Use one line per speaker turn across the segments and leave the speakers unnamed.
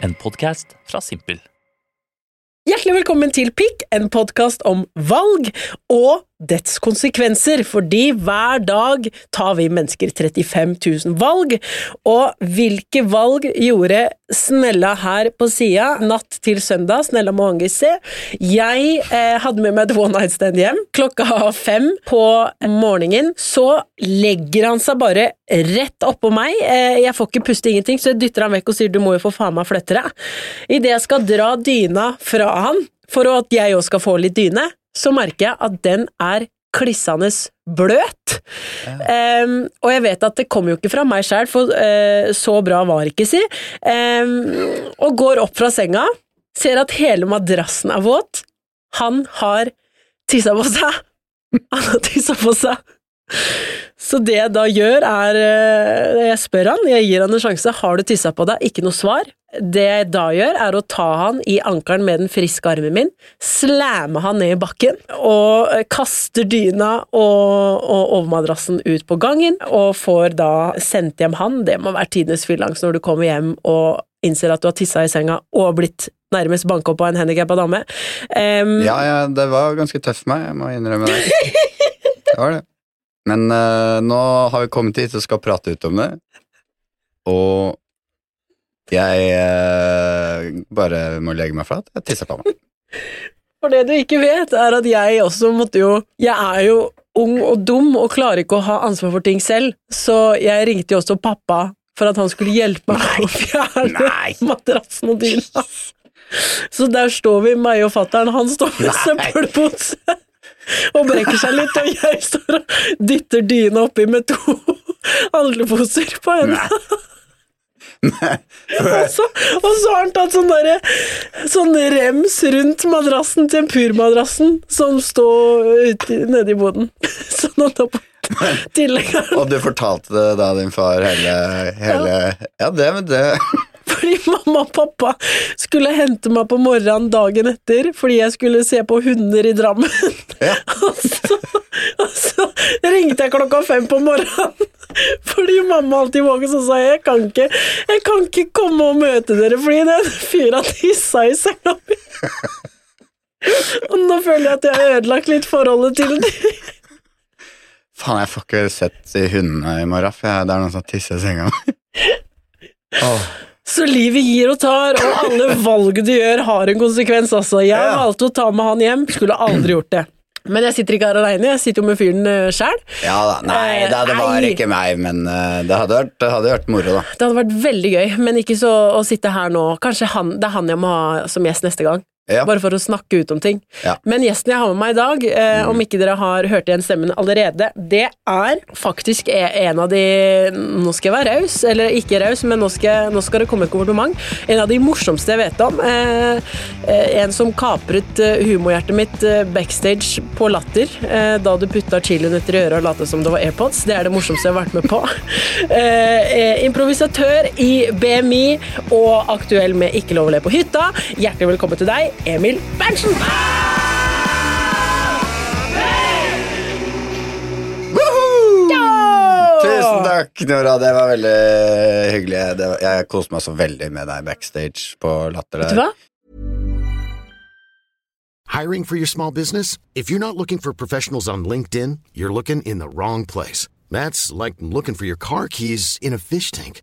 En podkast fra Simpel.
Hjertelig velkommen til Pikk, en podkast om valg og dets konsekvenser, fordi hver dag tar vi mennesker 35 000 valg, og hvilke valg gjorde Snella her på sida natt til søndag, Snella Mohangi C. Jeg eh, hadde med meg et one night stand hjem klokka fem på morgenen, så legger han seg bare rett oppå meg, eh, jeg får ikke puste ingenting, så jeg dytter han vekk og sier du må jo for faen meg flette deg. Idet jeg skal dra dyna fra han, for at jeg òg skal få litt dyne, så merker jeg at den er klissende bløt. Ehm, og jeg vet at det kommer jo ikke fra meg sjæl, for eh, så bra var ikke, si. Ehm, og går opp fra senga, ser at hele madrassen er våt. Han har tissa på seg. Han har tissa på seg. Så det jeg da gjør, er eh, Jeg spør han, jeg gir han en sjanse. Har du tissa på deg? Ikke noe svar. Det jeg da gjør, er å ta han i ankelen med den friske armen min, slamme han ned i bakken og eh, kaster dyna og, og overmadrassen ut på gangen, og får da sendt hjem han. Det må være tidenes fylleangst når du kommer hjem og innser at du har tissa i senga og blitt nærmest banka opp av en handikappa dame. Em,
Ja, ja, det var ganske tøft for meg, jeg må innrømme det. Det var det. Men eh, nå har vi kommet hit og skal prate ut om det. Og jeg eh, bare må legge meg flat. Jeg tisser på meg.
For det du ikke vet, er at jeg også måtte jo Jeg er jo ung og dum og klarer ikke å ha ansvar for ting selv, så jeg ringte jo også pappa for at han skulle hjelpe meg å fjerne
Nei.
madrassen og dyna. Så der står vi, meg og fatter'n. Han står med søppelpose og brekker seg litt, og jeg står og dytter dyna oppi med to handleposer på henne. Og så, og så har han tatt sånn derre Sånn rems rundt madrassen, tempurmadrassen, som står ute nede i boden. Sånn at da på tilhengeren
Og du fortalte det da din far hele, hele Ja, det, men det
Fordi mamma og pappa skulle hente meg på morgenen dagen etter fordi jeg skulle se på hunder i Drammen.
Ja.
Og så, og så ringte jeg klokka fem på morgenen fordi mamma alltid våget, så sa jeg jeg kan ikke, jeg kan ikke komme og møte dere fordi den fyra tissa i senga mi. Og nå føler jeg at jeg har ødelagt litt forholdet til dem.
Faen, jeg får ikke sett de hundene i morgen, for jeg, det er noen som tisser i senga mi. Åh.
Så livet gir og tar, og alle valg du gjør har en konsekvens, altså. Jeg
Ja.
valgte å ta med han hjem, skulle aldri gjort det. Men jeg sitter ikke her aleine, jeg sitter jo med fyren eh, sjæl.
Ja da. Nei, det, det var ikke meg, men eh, det hadde vært, det hadde vært moro, da.
Det hadde vært veldig gøy, men ikke så å sitte her nå. Kanskje han, det er han jeg må ha som gjest neste gang.
Ja.
Bare for å snakke ut om ting.
Ja.
Men gjesten jeg har med meg i dag, eh, om ikke dere har hørt igjen stemmen allerede, det er faktisk e- en av de Nå skal jeg være raus, eller ikke raus, men nå skal, nå skal det komme et kompliment. En av de morsomste jeg vet om. Eh, eh, en som kapret eh, humorhjertet mitt eh, backstage på Latter eh, da du putta chilinøtter i øret og lot som det var AirPods. Det er det morsomste jeg har vært med på. Eh, eh, improvisatør i BMI og aktuell med Ikke lov å le på hytta. Hjertelig velkommen til deg, Emil Berntsen.
Tusen takk, Nora. Det var veldig hyggelig. Det var, jeg koste meg så veldig med deg backstage på Latter.
Vet du hva?
Hiring for your small business? If you're not looking for professionals on LinkedIn, you're looking in the wrong place. That's like looking for your car keys in a fish tank.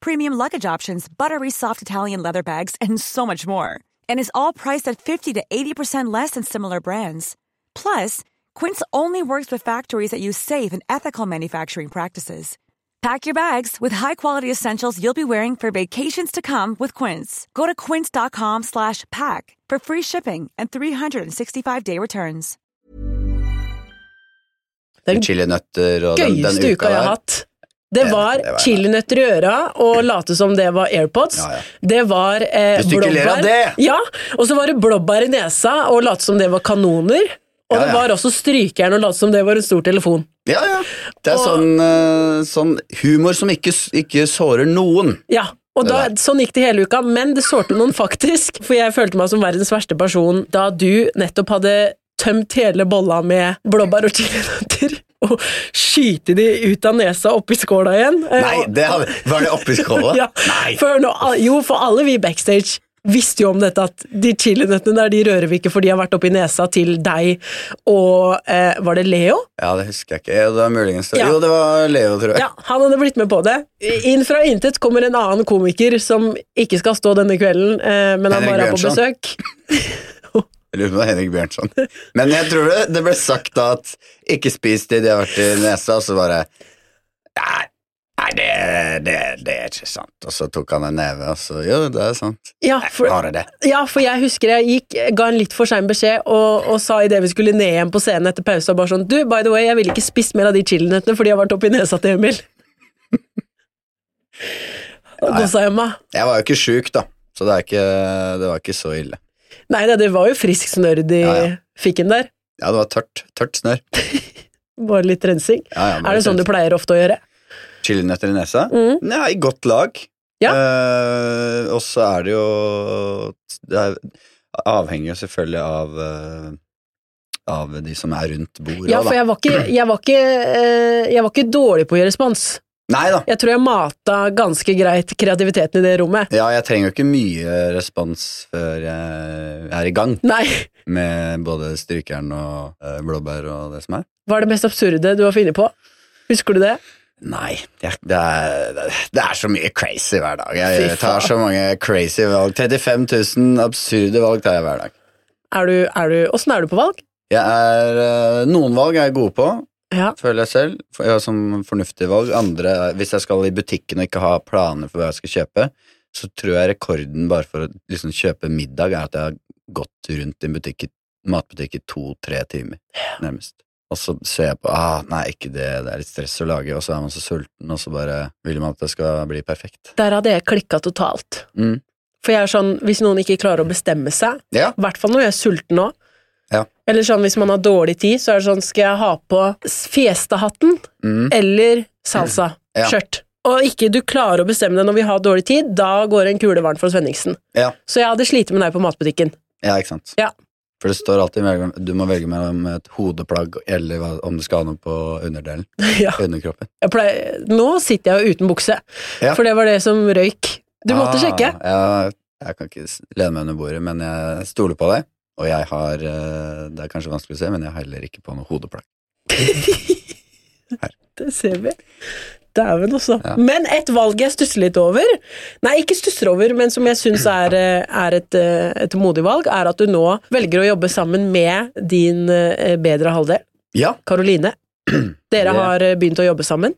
premium luggage options, buttery soft Italian leather bags, and so much more. And is all priced at 50 to 80% less than similar brands. Plus, Quince only works with factories that use safe and ethical manufacturing practices. Pack your bags with high-quality essentials you'll be wearing for vacations to come with Quince. Go to quince.com slash pack for free shipping and 365-day returns.
Den
Chilinøtter og den, den
gøyeste uka jeg har
der.
hatt. Det
Ja,
var
det var-
chilinøtter i øra og late som det var AirPods.
Ja, ja.
Det var eh,
Hvis du ikke ler av det!
Ja, og så var det blåbær i nesa og late som det var kanoner. Og
Ja,
det
ja.
var også strykejern og late som det var en stor telefon.
Ja, ja. Det er
Og-
sånn, eh, sånn humor som ikke, s- ikke sårer noen.
Ja, og da,
Det
Sånn gikk det hele uka, men det sårte noen faktisk. For jeg følte meg som verdens verste person da du nettopp hadde tømt hele bolla med blåbær og chilinøtter og skyte de ut av nesa oppi skåla igjen. Eh,
Nei,
og-
det hadde, var det oppi skåla?
ja,
Nei.
for nå, al- jo, for alle vi backstage visste jo om dette at de chilinøttene der, de rører vi ikke, for de har vært oppi nesa til deg og eh, Var det Leo?
Ja, det husker jeg ikke. Ja, Det var muligens det.
Ja.
Jo, det var Leo, tror jeg.
Ja, han hadde blitt med på det. Inn fra intet kommer en annen komiker som ikke skal stå denne kvelden, eh, men han
Henrik
bare er på
Bjørnson.
besøk.
Jeg lurer på om det var Henrik Bjørnson. Men jeg tror det, det ble sagt da at ikke spis de, de har vært i nesa, og så bare Nei, nei det, det, det er ikke sant. Og så tok han en neve, og så Jo, det er sant.
Ja,
Nei,
for,
bare det.
ja, for jeg husker jeg gikk, ga en litt for sein beskjed og, og sa idet vi skulle ned igjen på scenen etter pause, og bare sånn Du, by the way, jeg ville ikke spist mer av de chilinøttene, for de har vært oppi nesa til Emil. Og da sa Emma
Jeg var jo ikke sjuk, da, så det, er ikke, det var ikke så ille.
Nei da, det var jo frisk snørr de
Ja, ja.
fikk inn der.
Ja, det var tørt. Tørt snørr.
Bare litt rensing.
Ja, ja,
er det sånn du pleier ofte å gjøre?
Chilinøtter i nesa?
Mm.
Ja, i godt lag.
Ja.
Eh, og så er det jo Det er, avhenger jo selvfølgelig av eh, Av de som er rundt bordet.
Ja, for
da.
jeg var ikke, jeg var ikke, eh, jeg var ikke dårlig på å gi respons.
Nei da.
Jeg tror jeg mata ganske greit kreativiteten i det rommet.
Ja, jeg trenger jo ikke mye respons før jeg er i gang
Nei,
med både strykeren og eh, blåbær og det som er.
hva er det mest absurde du har funnet på? Husker du det?
Nei, jeg, det, er, det er så mye crazy hver dag. Jeg,
Fy faen.
tar så mange crazy valg. 35 000 absurde valg tar jeg hver dag.
Er du, er du, hvordan er du på valg?
Jeg er, eh, noen valg er jeg gode på,
Ja,
føler jeg selv, for, ja, som fornuftige valg. Andre, er- hvis jeg skal i butikken og ikke ha planer for hva jeg skal kjøpe, så tror jeg rekorden bare for å liksom, kjøpe middag er at jeg har gått rundt i en butikk, i- matbutikk i to-tre timer, nærmest. Og så ser jeg på ah, nei, ikke det, det er litt stress å lage, og så er man så sulten, og så bare vil man at det skal bli perfekt.
der hadde jeg klikka totalt.
Mm.
For jeg er sånn, hvis noen ikke klarer å bestemme seg,
Ja,
i hvert fall når jeg er sulten nå,
Ja.
eller sånn hvis man har dårlig tid, så er det sånn, skal jeg ha på s- fiestahatten
mm,
eller salsa,
Ja.
skjørt? Og ikke du klarer å bestemme deg når vi har dårlig tid, da går en kule varmt for Svenningsen.
ja,
Så jeg hadde slitt med deg på matbutikken.
ja, ikke sant.
Ja.
For det står alltid mellom, du må velge mellom et hodeplagg eller hva- om du skal ha noe på underdelen,
ja.
underkroppen.
jeg pleier, nå sitter jeg jo uten bukse,
Ja.
for det var det som røyk. Du måtte
Ah,
sjekke.
Jeg, jeg kan ikke s- lene meg under bordet, men jeg stoler på deg. Og jeg har eh, Det er kanskje vanskelig å se, men jeg har heller ikke på noe hodeplagg.
Det ser vi. Dæven, altså.
Ja.
Men et valg jeg stusser litt over, nei, ikke stusser over, men som jeg syns er, eh, er et, eh, et modig valg, er at du nå velger å jobbe sammen med din eh, bedre halvdel,
Ja,
Karoline. Dere
Det-
har eh, begynt å jobbe sammen.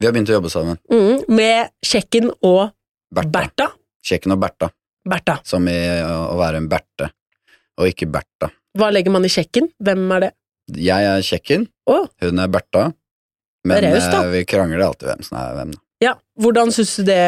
vi har begynt å jobbe sammen.
Mm, med Tsjekken og
Bertha.
Bertha.
Kjekken og Bertha,
Bertha.
som i å å være en Berte, og ikke Bertha.
Hva legger man i Tsjekken? Hvem er det?
Jeg er kjekken,
Å,
hun er Bertha, men
Det er raust, da.
eh, vi krangler alltid hvem som er hvem. da.
ja. Hvordan syns du det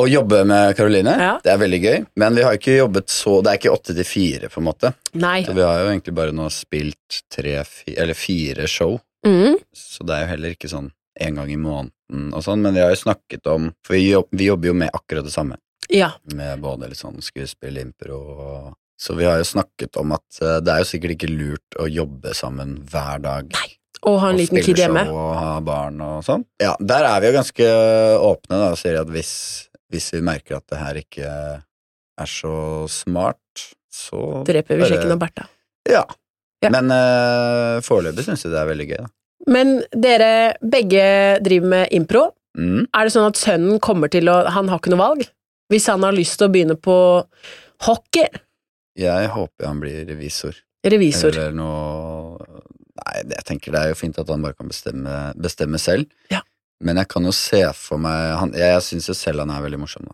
Å jobbe med Karoline,
Ja.
det er veldig gøy, men vi har ikke jobbet så Det er ikke åtte til fire, på en måte.
Nei.
Så vi har jo egentlig bare nå spilt tre, fi- eller fire show.
Mm.
så det er jo heller ikke sånn en gang i måneden og sånn, men vi har jo snakket om For vi, jobb, vi jobber jo med akkurat det samme,
Ja.
med både litt sånn skuespill, impro og Så vi har jo snakket om at eh, det er jo sikkert ikke lurt å jobbe sammen hver dag.
Og ha en
og
liten
spille
kid hjemme.
show og ha barn og sånn. Ja, der er vi jo ganske åpne da, og sier at hvis, hvis vi merker at det her ikke er så smart, så
Dreper vi
bare-
Tsjekken og Bertha.
Ja.
Ja.
Men uh, foreløpig syns jeg det er veldig gøy, da.
Men dere begge driver med impro.
Mm.
Er det sånn at sønnen kommer til å Han har ikke noe valg? Hvis han har lyst til å begynne på hockey,
Jeg håper han blir revisor.
revisor
Eller noe Nei, det- jeg tenker det er jo fint at han bare kan bestemme, bestemme selv.
Ja.
Men jeg kan jo se for meg han, Jeg, jeg syns jo selv han er veldig morsom, da.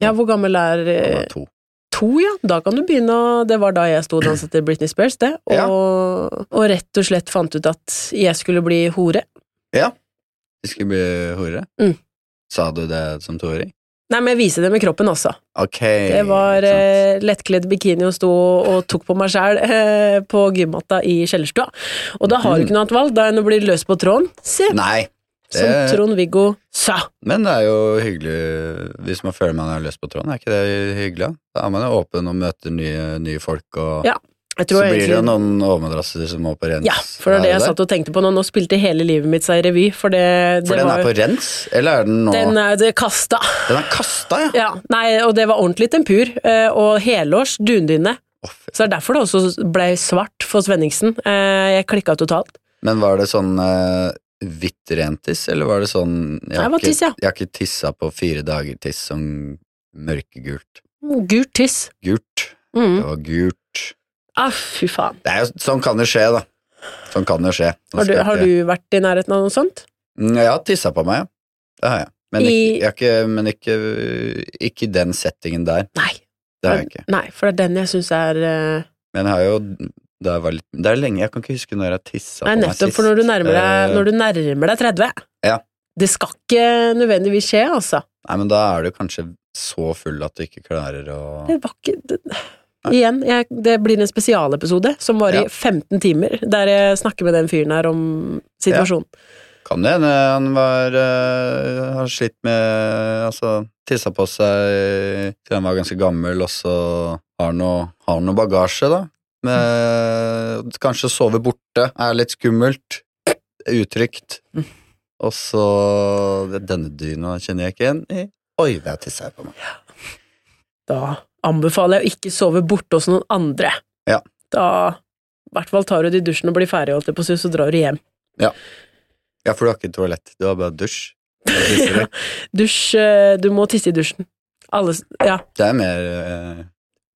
Ja, hvor gammel er
Han
eh,
er to.
To, ja. Da kan du begynne å Det var da jeg sto og danset til Britney Spears, det. Og,
Ja.
og rett og slett fant ut at jeg skulle bli hore.
Ja. De skulle bli horere?
Mm.
Sa du det som toåring?
Nei, men jeg viser det med kroppen også.
Ok.
Det var
ikke sant.
eh, lettkledd bikini og sto og tok på meg sjæl eh, på gymmatta i kjellerstua. Og da
Mm.
har du ikke noe annet valg da enn å bli løs på tråden. Se,
Nei.
som
det-
Trond-Viggo sa.
Men det er jo hyggelig hvis man føler man har lyst på tråden. Er ikke det hyggelig? da? Da er man jo åpen og møter nye, nye folk, og
Ja, jeg
så
tror
blir
jeg
det jo
egentlig
noen overmadrasser som må på rens.
ja, for det var det jeg satt og tenkte på nå. Nå spilte hele livet mitt seg i revy, for det,
For
det
den
var
er på rens, eller er den nå
Den er det kasta.
Den er kasta, ja!
Ja, nei, og det var ordentlig tempur, eh, og helårs dundyne.
Å, fy.
Så det er derfor det også ble svart for Svenningsen. Eh, Jeg klikka totalt.
Men var det sånn uh, hvitt rent tiss, eller var det sånn jeg har
Det var
ikke-
tiss, ja.
Jeg har ikke tissa på fire dager tiss som mørkegult.
Gult tiss.
Gult.
Mm.
Det var gult.
Ah, fy faen.
Det er jo, sånn kan det skje, da. Sånn kan det skje. Nå
Har du,
skal jeg
har
ikke-
du vært i nærheten av noe sånt?
Mm, Jeg har tissa på meg, ja. Det har jeg. Men,
I-
ikke, jeg har ikke, men ikke, ikke i den settingen der.
Nei.
Det har jeg ikke.
Nei, for det er den jeg syns er eh,
Men jeg har jo da jeg var litt, Det er lenge, jeg kan ikke huske når jeg tissa på
Nei,
meg
nettopp,
sist.
for når du nærmer deg,
Eh,
når du nærmer deg 30
Ja.
Det skal ikke nødvendigvis skje, altså.
Nei, men da er du kanskje så full at du ikke klarer å
Det var ikke det, Igjen, jeg, det blir en spesialepisode som varer
Ja.
i 15 timer, der jeg snakker med den fyren her om situasjonen.
Kan det hende han var eh, har slitt med Altså, tissa på seg til han var ganske gammel, og så har noe, har noe bagasje, da. Med, kanskje sove borte er litt skummelt. Utrygt. Og så Denne dyna kjenner jeg ikke igjen i. Oi, der tissa jeg på meg.
Da anbefaler jeg å ikke sove borte hos noen andre.
Ja.
Da i hvert fall tar du det i dusjen og blir ferdig, holdt jeg på å si, så drar du hjem.
Ja, for du har ikke toalett. Du har bare dusj. Da tisser du.
Dusj eh, Du må tisse i dusjen. Alle s- Ja,
Det er mer eh,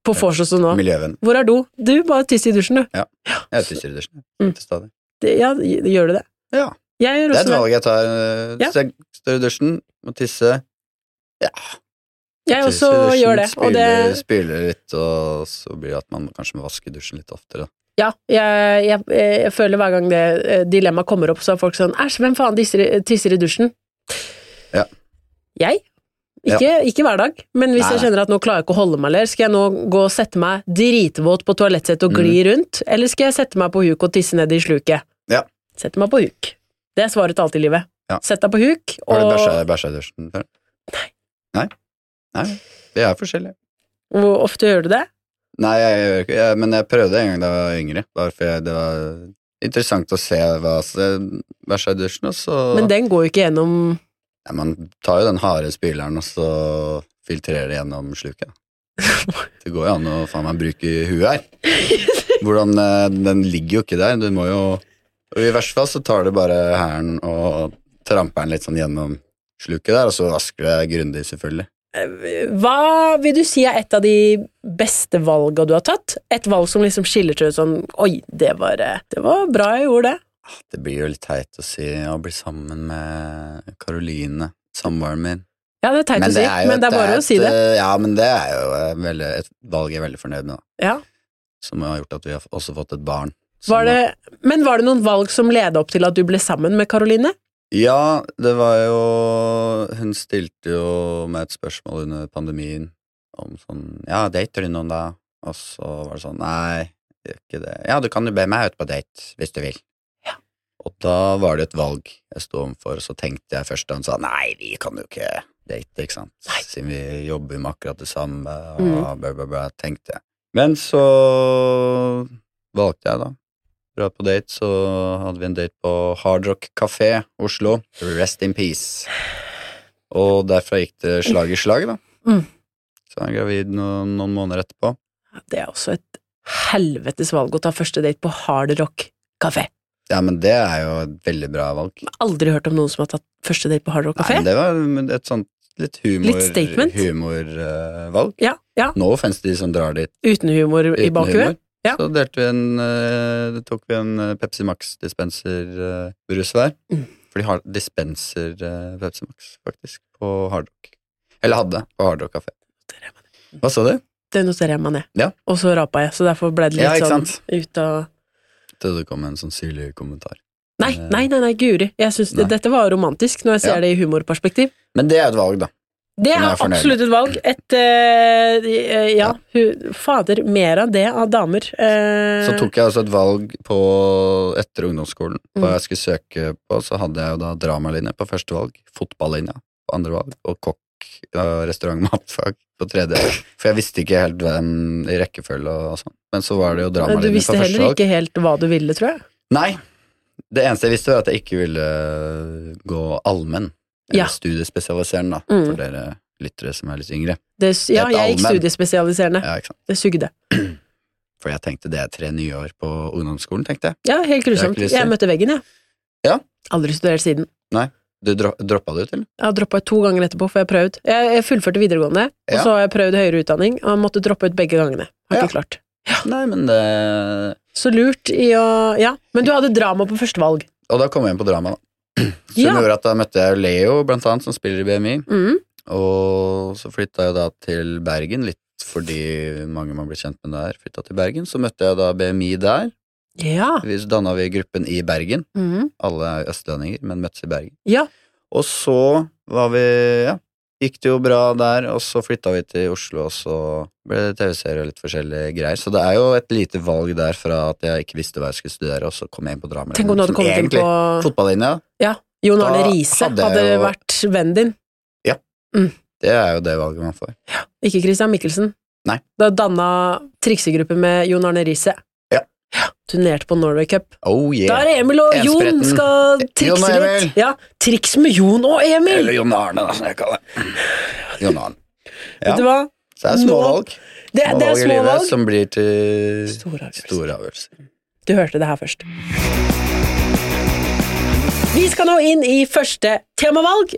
på vors og sånn nå.
miljøvenn.
Hvor er do? Du, bare tiss i dusjen, du.
Jeg tisser i dusjen.
Mm.
Til stadig.
Det, ja, gjør du det?
Ja.
Jeg gjør
Det er
også
et
det.
valg jeg tar. eh,
Ja.
Hvis jeg står i dusjen, må tisse
Jeg også
Tisser i dusjen,
gjør det. Og det
Spyler, spyler litt, og så blir det at man kanskje må vaske dusjen litt oftere.
ja, jeg, jeg, jeg føler hver gang det eh, dilemmaet kommer opp, så er folk sånn Æsj, hvem faen tisser, i- tisser i dusjen?
Ja.
Jeg. Ikke, ikke hver dag, men hvis
Nei,
jeg kjenner at nå klarer jeg ikke å holde meg mer, skal jeg nå gå og sette meg dritvåt på toalettsettet og gli rundt, eller skal jeg sette meg på huk og tisse ned i sluket?
Mm. Ja.
Sette meg på huk. Det er svaret til alt i livet.
Ja.
Sett deg på huk,
Har du
og
bæsja, bæsja i dusjen før? Nei. Nei? Det er forskjellig.
hvor ofte gjør du det?
Nei, jeg gjør ikke jeg, Men jeg prøvde en gang da jeg var yngre, bare for jeg, det var interessant å se hva så- bæsja i dusjen, og så
Men den går jo ikke gjennom
ja, Man tar jo den harde spyleren, og så filtrerer det gjennom sluket. Det går jo an å faen meg bruke huet her. Hvordan eh, Den ligger jo ikke der. Du må jo og I verste fall så tar du bare hælen og tramper den litt sånn gjennom sluket der, og så vasker du deg grundig, selvfølgelig.
Hva vil du si er et av de beste valga du har tatt? Et valg som liksom skiller seg ut sånn Oi, det var, eh, det var bra jeg gjorde det.
Det blir jo litt teit å si å bli sammen med Karoline, samboeren min.
Ja, det er teit å si,
jo
men det er
et-
bare å si det.
eh, Ja, men det er jo eh, veldig, et valg jeg er veldig fornøyd med, da.
Ja.
Som har gjort at vi har også fått et barn. som
Var det men var det noen valg som leda opp til at du ble sammen med Karoline?
Ja, det var jo Hun stilte jo meg et spørsmål under pandemien om sånn Ja, dater du noen, da? Og så var det sånn Nei, jeg gjør ikke det. Ja, du kan jo be meg ut på date hvis du vil. Og da var det et valg jeg sto overfor, så tenkte jeg først da hun sa nei, vi kan jo ikke date, ikke sant, siden vi jobber med akkurat det samme, og
Mm.
bla, bla, bla, tenkte jeg. Men så valgte jeg da. Dra på date, så hadde vi en date på Hard Rock Café, Oslo. Rest in peace. Og derfra gikk det slag i slag, da.
Mm.
Så er jeg gravid noen, noen måneder etterpå.
Det er også et helvetes valg å ta første date på Hard Rock kafé.
Ja, men det er jo et veldig bra valg.
Aldri hørt om noen som har tatt første date på Hard Rock
Nei, men
kafé.
det var et sånt litt humor
Litt statement.
humorvalg.
Ja, ja.
Nå offens de som drar dit
Uten humor i
uten humor.
bakhuet. Ja.
Så delte vi en, eh, det tok vi en eh, Pepsi Max-dispenser-brus hver.
Mm.
For de har dispenser eh, Pepsi Max, faktisk, på Hard Rock. Eller hadde, på Hard Rock kafé. Hva sa du?
Det noterer jeg meg ned.
Ja.
Og så rapa jeg, så derfor ble det
Ja,
litt
ikke
sånn
sant?
ut av
Trodde det kom en sånn syrlig kommentar.
Nei, nei, nei, nei guri. Jeg synes det,
Nei.
Dette var romantisk, når jeg ser
Ja.
det i humorperspektiv.
Men det er et valg, da.
Det
Som jeg
er
er fornøyd med.
absolutt et valg. Et eh, Ja, hu, fader, mer av det av damer. Eh,
Så tok jeg altså et valg på, etter ungdomsskolen. Hva
Mm.
jeg skulle søke på, så hadde jeg jo da dramalinje på første valg, fotballinja på andre valg, og kokk, eh, restaurant, matfag på tredje. For jeg visste ikke helt hvem i rekkefølge og sånn. Men så var det jo
Du
dramalinje
visste
på første
heller
valg.
ikke helt hva du ville, tror jeg.
Nei. Det eneste jeg visste, var at jeg ikke ville gå allmenn.
Ja.
Eller studiespesialiserende, da,
Mm.
for dere lyttere som er litt yngre.
Det, ja,
Dette er
jeg gikk
allmenn.
studiespesialiserende.
Ja, ikke sant?
Det sugde.
For jeg tenkte det er tre nye år på ungdomsskolen, tenkte jeg.
Ja, helt grusomt.
ikke lyst til.
Jeg møtte veggen, jeg.
Ja.
Aldri studert siden.
Du dro droppa det ut, eller?
Jeg har droppa ut to ganger etterpå, for jeg har prøvd. Jeg, jeg fullførte videregående, og
Ja.
så har jeg prøvd høyere utdanning, og måtte droppe ut begge gangene. Har ikke klart.
Nei, men det
Så lurt i å Ja, men du hadde drama på første valg.
Og da kom jeg inn på drama, da. Som
Ja.
gjorde at da møtte jeg Leo, blant annet, som spiller i BMI.
Mm.
Og så flytta jeg da til Bergen, litt fordi mange man blir kjent med der, flytta til Bergen. Så møtte jeg da BMI der.
Ja.
Vi danna vi gruppen i Bergen.
Mm.
Alle er jo østlendinger, men møttes i Bergen.
Ja.
Og så var vi Ja, gikk det jo bra der, og så flytta vi til Oslo, og så ble det TV-serie og litt forskjellige greier. Så det er jo et lite valg der fra at jeg ikke visste hva jeg skulle studere, og så kom jeg inn på drama.
Tenk om du hadde
Som
kommet inn
egentlig-
på
Fotballinja,
Ja. Jon
Da
Arne Riise
hadde
hadde,
jeg jo-
vært vennen din.
det er jo det valget man får.
Ikke Christian Michelsen.
Nei.
Da danna triksegruppe med Jon Arne Riise.
Ja.
Turnerte på Norway Cup.
Oh
Da
yeah!
er det Emil og Jon
Enspretten.
skal trikse
Jon og Emil.
litt. Ja, triks med Jon og Emil!
Eller Jon Arne, da, som jeg kaller det. Jon Arne. Ja.
Vet du hva?
Så det er små
Nå-
valg.
Det,
Små
det er
valg i
små
livet
valg.
som blir til
Store avgjørelser.
store avgjørelser.
Du hørte det her først. Vi skal nå inn i første temavalg.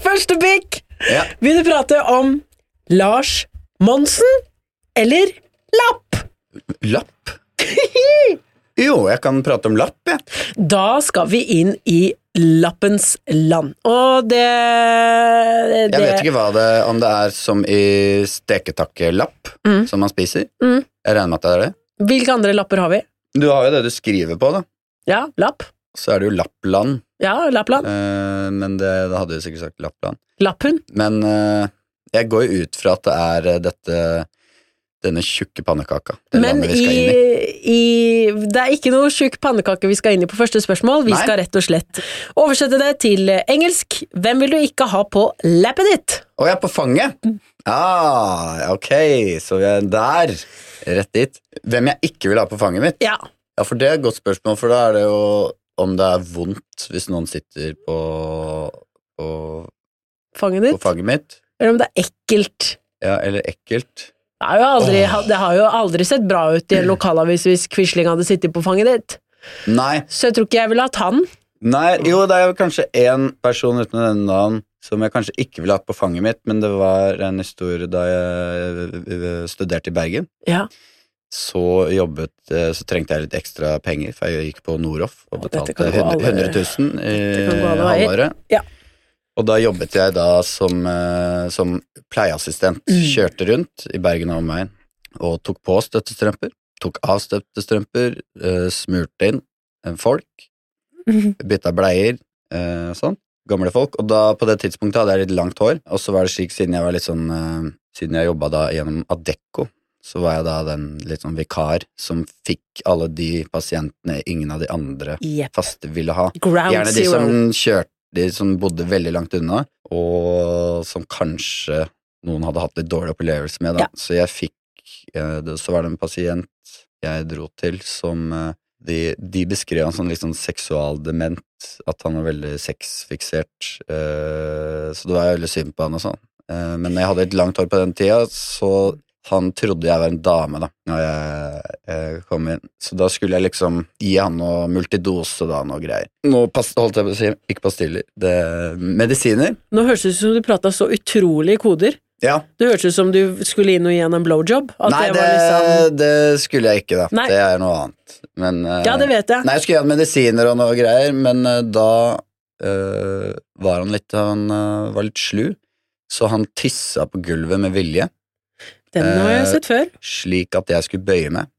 Første pikk!
Ja.
Vil du prate om Lars Monsen eller Lapp?
Lapp? Jo, jeg kan prate om lapp, jeg.
Da skal vi inn i lappens land. Og det, det
Jeg vet ikke hva det, om det er som i steketakkelapp, som man spiser.
Mm.
Jeg regner med at det er det.
Hvilke andre lapper har vi?
Du har jo det du skriver på, da.
Ja, Lapp.
Så er det jo Lappland,
Ja, Lappland.
eh, men det, da hadde du sikkert sagt Lappland.
Lapphund.
Men eh, jeg går jo ut fra at det er eh, dette denne tjukke pannekaka. Det
Men
landet vi
i,
skal inn i.
i Det er ikke noe tjukk pannekake vi skal inn i på første spørsmål. Vi
Nei.
skal rett og slett oversette det til engelsk. Hvem vil du ikke ha på lappet ditt?
Å, jeg er på fanget!
Mm.
Ah, ok, så vi er der. Rett dit. Hvem jeg ikke vil ha på fanget mitt?
Ja.
Ja, for det er et godt spørsmål, for da er det jo om det er vondt hvis noen sitter på, på,
Fanget
på
ditt?
fanget mitt.
Eller om det er ekkelt?
Ja, eller ekkelt.
Det, er jo aldri,
Åh.
det har jo aldri sett bra ut i en lokalavis hvis Quisling hadde sittet på fanget ditt.
Nei,
Så jeg tror ikke jeg ville hatt han.
nei, jo, det er jo kanskje én person uten å nevne navn som jeg kanskje ikke ville hatt på fanget mitt, men det var en historie da jeg øh, studerte i Bergen.
Ja,
Så jobbet, øh, så trengte jeg litt ekstra penger, for jeg gikk på Noroff og
Å, dette
betalte
kan gå alle-
100 100 000
Dette kan
i
gå alle veier.
halvåret.
Ja.
Og da jobbet jeg da som, øh, som pleieassistent.
Mm.
Kjørte rundt i Bergen og omegn og tok på støttestrømper, tok av støttestrømper, øh, smurte inn øh, folk. bytta bleier, eh, sånn. Gamle folk. Og da, på det tidspunktet hadde jeg litt langt hår, og så var det slik siden jeg var litt sånn eh, Siden jeg jobba da gjennom Adecco, så var jeg da den litt sånn vikar som fikk alle de pasientene ingen av de andre
Jepp.
faste ville ha.
Ground
Gjerne de
zero.
som kjørte, de som bodde veldig langt unna, og som kanskje noen hadde hatt litt dårlig opplevelse med. Da.
Ja.
Så jeg fikk eh, det- Så var det en pasient jeg dro til som eh, de, de beskrev han som litt sånn seksualdement, at han var veldig sexfiksert. eh, Så det var veldig synd på han og sånn. Eh, Men jeg hadde litt langt hår på den tida, så han trodde jeg var en dame da når jeg, jeg kom inn. Så da skulle jeg liksom gi han noe multidose da, noe greier. Nå pass, holdt jeg på å si, ikke pastiller, det medisiner.
Nå høres det ut som du prata så utrolige koder.
Ja.
Det hørtes ut som du skulle inn og gi han en blowjob. At
Nei,
det
det,
var liksom
det skulle jeg ikke da.
Nei.
Det er noe annet. Men, eh,
Ja, det vet jeg.
Nei, jeg skulle gi han medisiner og noe greier, men eh, da eh, var han litt, han eh, var litt slu. Så han tissa på gulvet med vilje,
Den har jeg
eh,
sett før.
slik at jeg skulle bøye meg.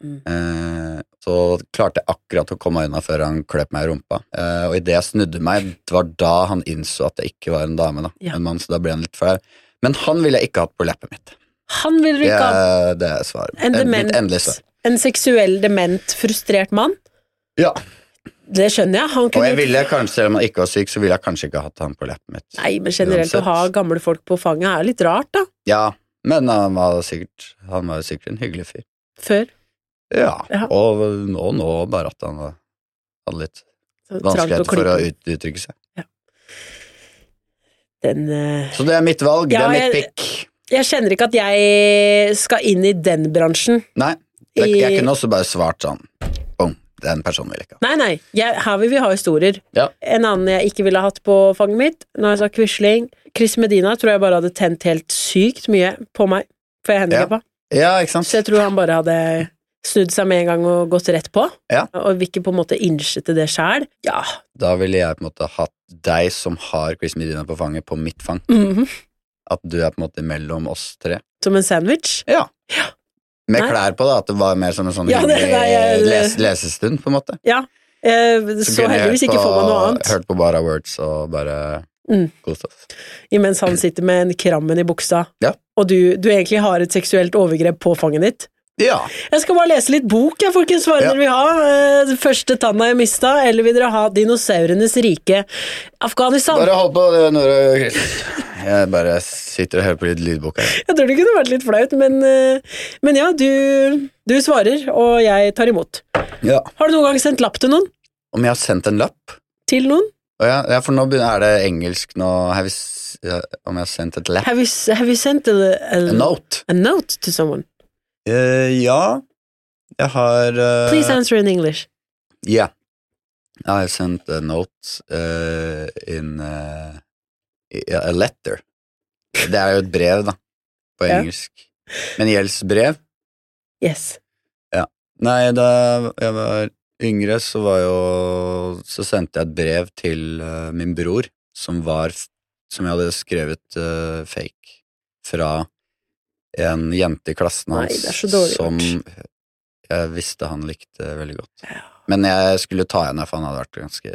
Mm.
Eh, så klarte jeg akkurat å komme meg unna før han kløp meg i rumpa. Eh, og idet jeg snudde meg, det var da han innså at jeg ikke var en dame, da,
Ja.
en mann, så da ble han litt flau. Men han ville jeg ikke hatt på leppet mitt.
Han vil
Det
rykke av.
er, det er svaret.
En
Eh,
dement,
Mitt endelige svar.
en seksuell dement, frustrert mann.
Ja.
Det skjønner jeg. Han
Og
kunne
jeg ville kanskje, selv om han ikke var syk, så ville jeg kanskje ikke hatt han på leppet mitt.
Nei, men generelt
Uansett.
å ha gamle folk på fanget er litt rart, da.
Ja, men han var sikkert, han var jo sikkert en hyggelig fyr.
Før.
Ja,
Ja.
og nå, nå bare at han var- hadde litt
Så trangt
vanskeligheter for å
klippe.
ut, uttrykke seg.
Den, eh,
Så det er mitt valg,
Ja,
det er mitt
jeg-
pikk.
Jeg kjenner ikke at jeg skal inn i den bransjen.
Nei, jeg, jeg
I-
kunne også bare svart sånn, boom, den personen vil jeg ikke ha.
Nei, nei. Jeg, her vil vi ha historier.
Ja.
En annen jeg ikke ville hatt på fanget mitt, når jeg sa Quisling Chris Medina tror jeg bare hadde tent helt sykt mye på meg, for jeg er handikappa.
Ja, ikke sant?
Så jeg tror han bare hadde snudd seg med en gang og gått rett på.
Ja.
Og vil ikke på en måte innse til det sjæl. Ja.
Da ville jeg på en måte hatt deg som har Chris Medina på fanget, på mitt fang.
mhm.
At du er på en måte mellom oss tre.
Som en sandwich.
Ja. Med
Nei.
klær på, da. At det var mer som en sånn
Ja, det-
hyggelig
nei, jeg-
les, lesestund, på en måte.
Ja. Eh, så
kunne jeg
heldigvis
hørt
ikke
på-
får man noe annet.
Hørt på Bara Words og bare
Mm.
kost oss.
Imens han sitter med en krammen i buksa,
Ja.
og du, du egentlig har et seksuelt overgrep på fanget ditt.
Ja.
Jeg skal bare lese litt bok, jeg, folkens. Hva
Ja.
dere vil ha? Eh, Første tanna jeg mista, eller vil dere ha Dinosaurenes rike? Afghanistan.
Bare hold på, det, Nora og Chris. Jeg bare sitter og hører på litt lydbok her.
Jeg tror det kunne vært litt flaut, men, eh, men ja, du, du svarer, og jeg tar imot.
Ja.
Har du noen gang sendt lapp til noen?
Om jeg har sendt en lapp?
Til noen?
Å ja, ja, for nå begynner- er det engelsk nå. Have you, s- ja, om jeg har sendt et lap?
Have you, s- have you sent a, a,
A note?
a note to someone?
Eh, ja. Jeg har eh,
Please answer in English.
Yeah. I have sent a note uh, in uh, i- A letter. Det er jo et brev, da, på
Ja.
engelsk. Men gjeldsbrev?
Yes.
Nei, da jeg var yngre, så var jo Så sendte jeg et brev til eh, min bror, som var f- Som jeg hadde skrevet eh, fake fra en jente i klassen
Nei,
hans
det er så dårlig
som jeg visste han likte veldig godt. Men jeg skulle ta henne, for han hadde vært ganske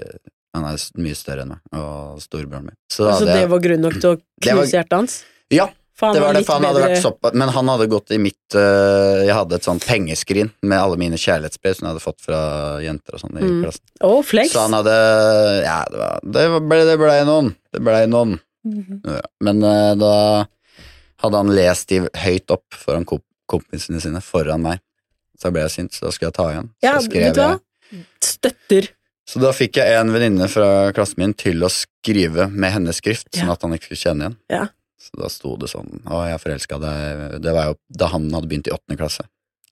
Han er s- mye større enn meg, og storebroren min. Så
Så
da hadde
Altså, det
jeg-
var grunn nok til å
Det var-
knuse hjertet hans?
Ja,
For han
det var det,
litt
for han hadde
bedre-
vært såpass Men han hadde gått i mitt øh, Jeg hadde et sånt pengeskrin med alle mine kjærlighetsbrev som jeg hadde fått fra jenter og sånn. i
Mm.
klassen.
Å, flex.
Så han hadde Ja, det, var, det ble, det ble noen. Det ble noen.
Mhm.
Ja. Men øh, da hadde han lest de høyt opp foran komp kompisene sine, foran meg. Så da ble jeg sint, så da skulle jeg ta igjen. Så
Ja,
skrev
vet du hva?
jeg-
Støtter.
Så da fikk jeg en venninne fra klassen min til å skrive med hennes skrift,
Ja.
sånn at han ikke skulle kjenne igjen.
Ja.
Så da sto det sånn Å, jeg forelska deg Det var jo da han hadde begynt i åttende klasse.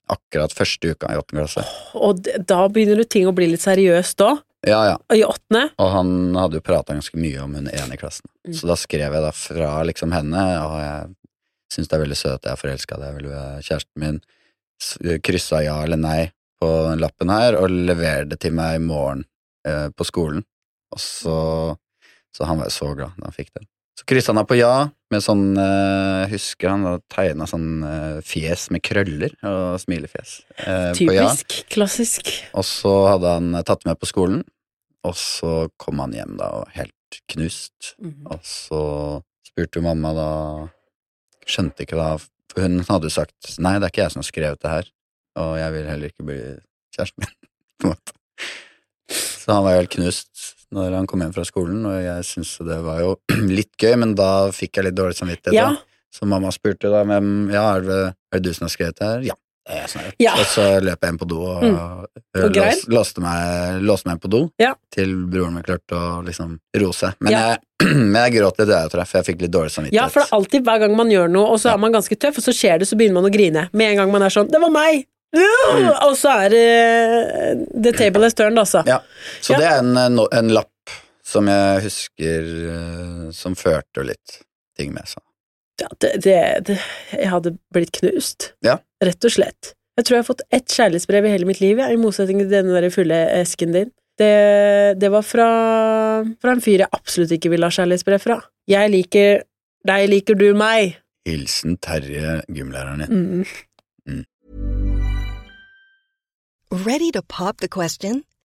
Akkurat første uka i åttende klasse.
Og d- da begynner jo ting å bli litt seriøst da.
Ja, ja.
Og I åttende.
Og han hadde jo prata ganske mye om hun ene i klassen. Så da skrev jeg da fra liksom henne, og jeg syns det er veldig søt, jeg er forelska, det er vel kjæresten min. S- Kryssa ja eller nei på den lappen her, og leverer det til meg i morgen eh, på skolen. Og så Så han var jo så glad da han fikk den. Så kryssa han da på ja, med sånn eh, Jeg husker han hadde tegna sånn eh, fjes med krøller og smilefjes eh, på ja.
Typisk. Klassisk.
Og så hadde han tatt med på skolen, og så kom han hjem da og helt knust.
Mhm.
Og så spurte jo mamma da Skjønte ikke da For hun hadde jo sagt nei, det er ikke jeg som har skrevet det her, og jeg vil heller ikke bli kjæresten min, på en måte. Så han var jo helt knust når han kom hjem fra skolen, og jeg syntes det var jo litt gøy, men da fikk jeg litt dårlig samvittighet.
Ja.
da. Så mamma spurte da hvem Ja, er det, er det du som har skrevet det her? Ja. det er jeg som har gjort det.
Ja.
Og så løp jeg inn på do og,
Mm.
eh,
Og grein?
lås- låste, meg, låste meg inn på do
Ja.
til broren min klarte å liksom roe seg. Men,
Ja.
jeg, men jeg gråt litt der, tror jeg, for jeg fikk litt dårlig samvittighet.
Ja, for det er alltid hver gang man gjør noe, og så er man ganske tøff, og så skjer det, så begynner man å grine. Med en gang man er sånn 'Det var meg!'
Mm.
Og så er det The table has turned, altså.
Ja. Så
Ja.
det er en, eh, no- en lapp som jeg husker eh, som førte jo litt ting med seg.
Ja, det, det, det, jeg hadde blitt knust.
Ja.
Rett og slett. Jeg tror jeg har fått ett kjærlighetsbrev i hele mitt liv, jeg, i motsetning til denne der fulle esken din. Det, det var fra, fra en fyr jeg absolutt ikke ville ha kjærlighetsbrev fra. Jeg liker deg, liker du meg?
Hilsen Terje, gymlæreren din.
Mm.
Ready to pop the question?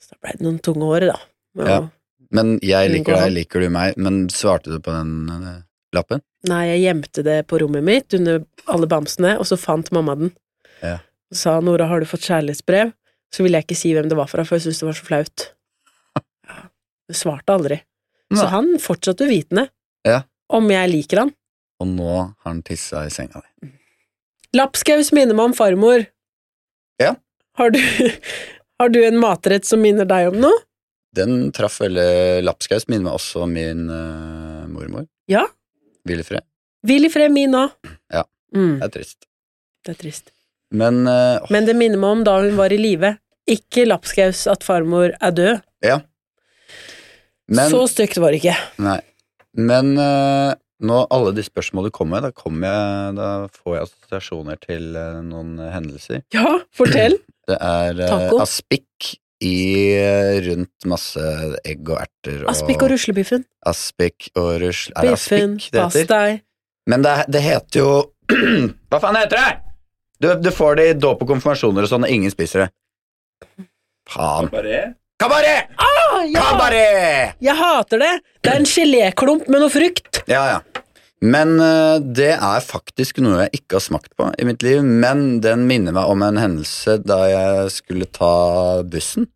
Så da ble det noen tunge år, da. med
Ja.
å-
Men jeg
Unngå
liker deg,
han.
liker du meg? Men svarte du på den eh, lappen?
Nei, jeg gjemte det på rommet mitt under alle bamsene, og så fant mamma den.
Ja.
Og sa 'Nora, har du fått kjærlighetsbrev?' Så ville jeg ikke si hvem det var fra, for jeg syntes det var så flaut. Ja. Jeg svarte aldri. Så
Nei.
han fortsatte uvitende
Ja.
om jeg liker han.
Og nå har han tissa i senga di.
Lapskaus minner meg om farmor.
Ja.
Har du, har du en matrett som minner deg om noe?
Den traff veldig lapskaus. Minner meg også om min eh, mormor.
Ja.
Willefred.
Hvil i fred, min òg.
Ja.
Mm,
Det er trist.
det er trist.
Men eh, åh,
Men det minner meg om da hun var i live. Ikke lapskaus at farmor er død.
Ja. Men,
Så stygt var det ikke.
nei. Men eh, nå alle de spørsmålene du kommer med, da, kommer jeg, da får jeg assosiasjoner til eh, noen eh, hendelser.
Ja, fortell.
Det er eh,
Taco.
aspik i eh, rundt masse egg og erter.
Aspik og ruslebiffen.
Aspik og rusl... Er det
Biffen,
aspik det heter?
pastei.
Men det, det heter jo Hva faen heter det?! Du, du får det i dåp og konfirmasjoner og sånn, og ingen spiser det. Faen. Kabaret!
Ah, ja!
Kabaret!
Jeg hater det! Det er en geléklump med noe frukt.
Ja, ja. Men eh, det er faktisk noe jeg ikke har smakt på i mitt liv, men den minner meg om en hendelse da jeg skulle ta bussen.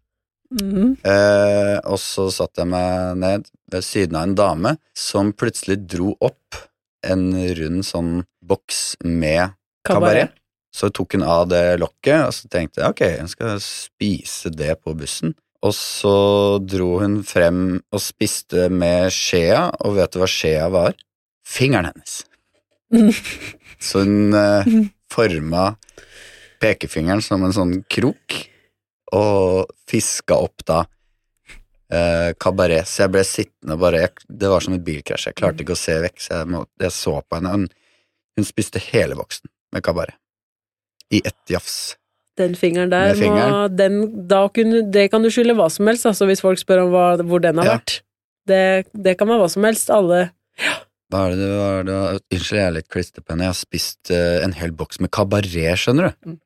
Mhm.
Eh, og så satt jeg meg ned ved siden av en dame som plutselig dro opp en rund sånn boks med kabaret. Så tok hun av det lokket, og så tenkte jeg ok, hun skal spise det på bussen. Og så dro hun frem og spiste med skjea, og vet du hva skjea var? Fingeren hennes. Så hun eh, forma pekefingeren som en sånn krok, og fiska opp da eh, kabaret. Så jeg ble sittende og bare jeg, Det var som et bilkrasj. Jeg klarte ikke å se vekk, så jeg, må, jeg så på henne. Hun, hun spiste hele boksen med kabaret. I ett jafs.
Den fingeren der,
Med fingeren.
Må, den, da kunne, det kan du skylde hva som helst, altså, hvis folk spør om hva, hvor den har
Ja.
vært. Det, det kan være hva som helst. Alle
Hva er det du hva er det, du- Unnskyld, jeg er litt klistret på henne. Jeg har spist eh, en hel boks med kabaret, skjønner du.
Mm.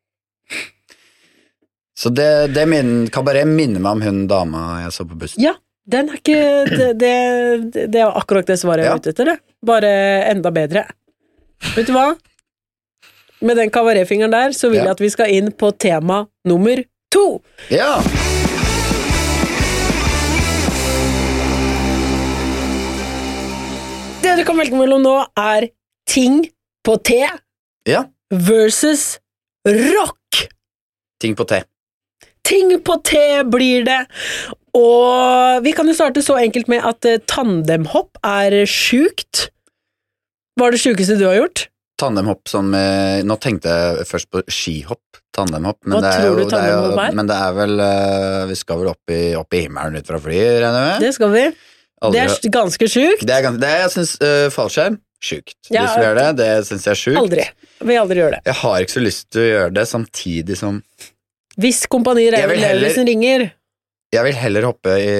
Så det, det min, kabaret minner meg om hun dama jeg så på bussen.
Ja, den er ikke Det, det, det er akkurat det svaret jeg
Ja.
var ute etter, det. Bare enda bedre. Vet du hva? Med den kabaretfingeren der, så vil
Ja.
jeg at vi skal inn på tema nummer to.
Ja!
Det du kan velge mellom nå, er ting på T
ja.
versus rock.
Ting på te.
Ting på T blir det. Og vi kan jo starte så enkelt med at eh, tandemhopp er sjukt. Hva er det sjukeste du har gjort?
Tandemhopp som eh, Nå tenkte jeg først på skihopp. Tandemhopp.
Hva
det er
tror du
det jo-
tandemhopp er?
Men det er vel eh, Vi skal vel opp i, opp i himmelen ut fra flyet, regner jeg med?
Det skal vi.
Aldri-
Det er s- ganske sjukt.
det er gans- det er- jeg syns fallskjerm sjukt.
Ja,
du som gjør det, det syns jeg er sjukt.
Aldri. Vil aldri gjøre det.
Jeg har ikke så lyst til å gjøre det, samtidig som
Hvis Kompani
Jeg vil
Reven
heller-
Levelsen ringer
Jeg vil heller hoppe i,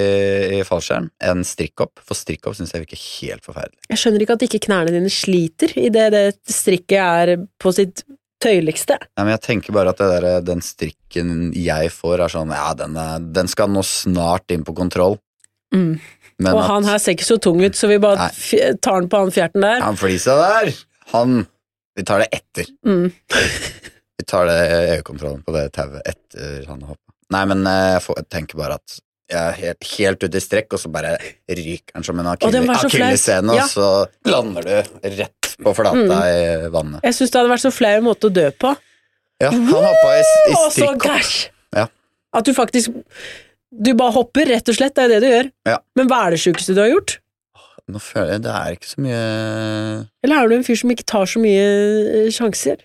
i fallskjerm enn strikkhopp, for strikkhopp syns jeg virker helt forferdelig.
Jeg skjønner ikke at ikke knærne dine sliter idet det strikket er på sitt tøyligste.
Nei, men jeg tenker bare at det der, eh, den strikken jeg får, er sånn Ja, den, er, den skal nå snart inn på kontroll. Men
Mm. Og
at-
han her ser ikke så tung ut, så vi bare
Nei.
f- tar den på han fjerten der. Mm.
Han flisa der, han Vi tar det etter. Vi tar det øyekontrollen på det tauet etter han har hoppa. Nei, men eh, jeg, får, jeg tenker bare at jeg er helt, helt ute i strekk, og så bare ryker han som en
Å, den var så flau.
akilleshæl,
Ja. Mm.
og så lander du rett på flata i vannet.
Jeg syns det hadde vært så flau måte å dø på.
Ja, han hoppa i, i
Og så
strikkhopp.
gæsj!
Ja.
At du faktisk Du bare hopper, rett og slett. Det er jo det du gjør.
Ja.
Men hva er det sjukeste du har gjort?
Nå føler jeg det er ikke så mye
Eller er du en fyr som ikke tar så mye eh, sjanser?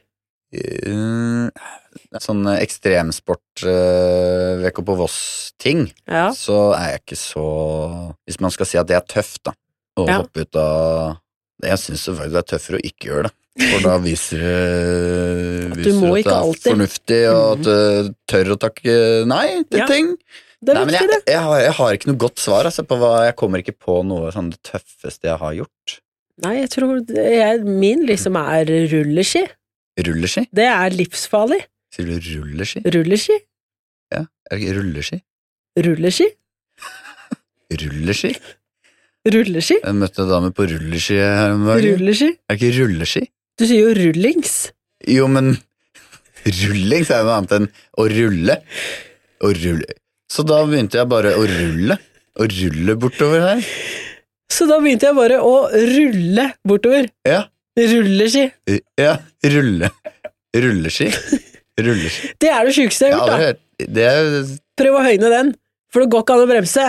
eh, Sånn ekstremsport eh, VK på Voss-ting.
Ja.
så er jeg ikke så Hvis man skal si at det er tøft, da, å
Ja.
hoppe ut av Jeg syns faktisk det er tøffere å ikke gjøre det. For da viser det
At du
viser
må
at det
ikke
er
alltid. Mhm.
fornuftig, og at du tør å takke nei til
Ja,
ting.
Det er
nei, men
viktig,
jeg,
det.
jeg, har, jeg har ikke noe godt svar. Altså, på hva, jeg kommer ikke på noe sånn det tøffeste jeg har gjort.
Nei, jeg tror det- jeg, min liksom er rulleski.
Rulleski?
Det er livsfarlig.
Sier du rulleski?
Rulleski.
Er det ikke Rulleski?
Rulleski.
Rulleski?
Rulleski.
Jeg møtte en dame på rulleski her om dagen.
Rulleski.
Er det ikke rulleski?
Du sier jo rullings.
Jo, men rullings er jo noe annet enn å rulle. Å rulle. Så da begynte jeg bare å rulle. Å rulle bortover her.
Så da begynte jeg bare å rulle bortover.
Ja,
Rulleski.
r- ja rulle. Rulleski. Rulleski.
Det er det sjukeste
Jeg
jeg
har
har
aldri
gjort, da.
hørt Det er
Prøv å høyne den, for det går ikke an å bremse.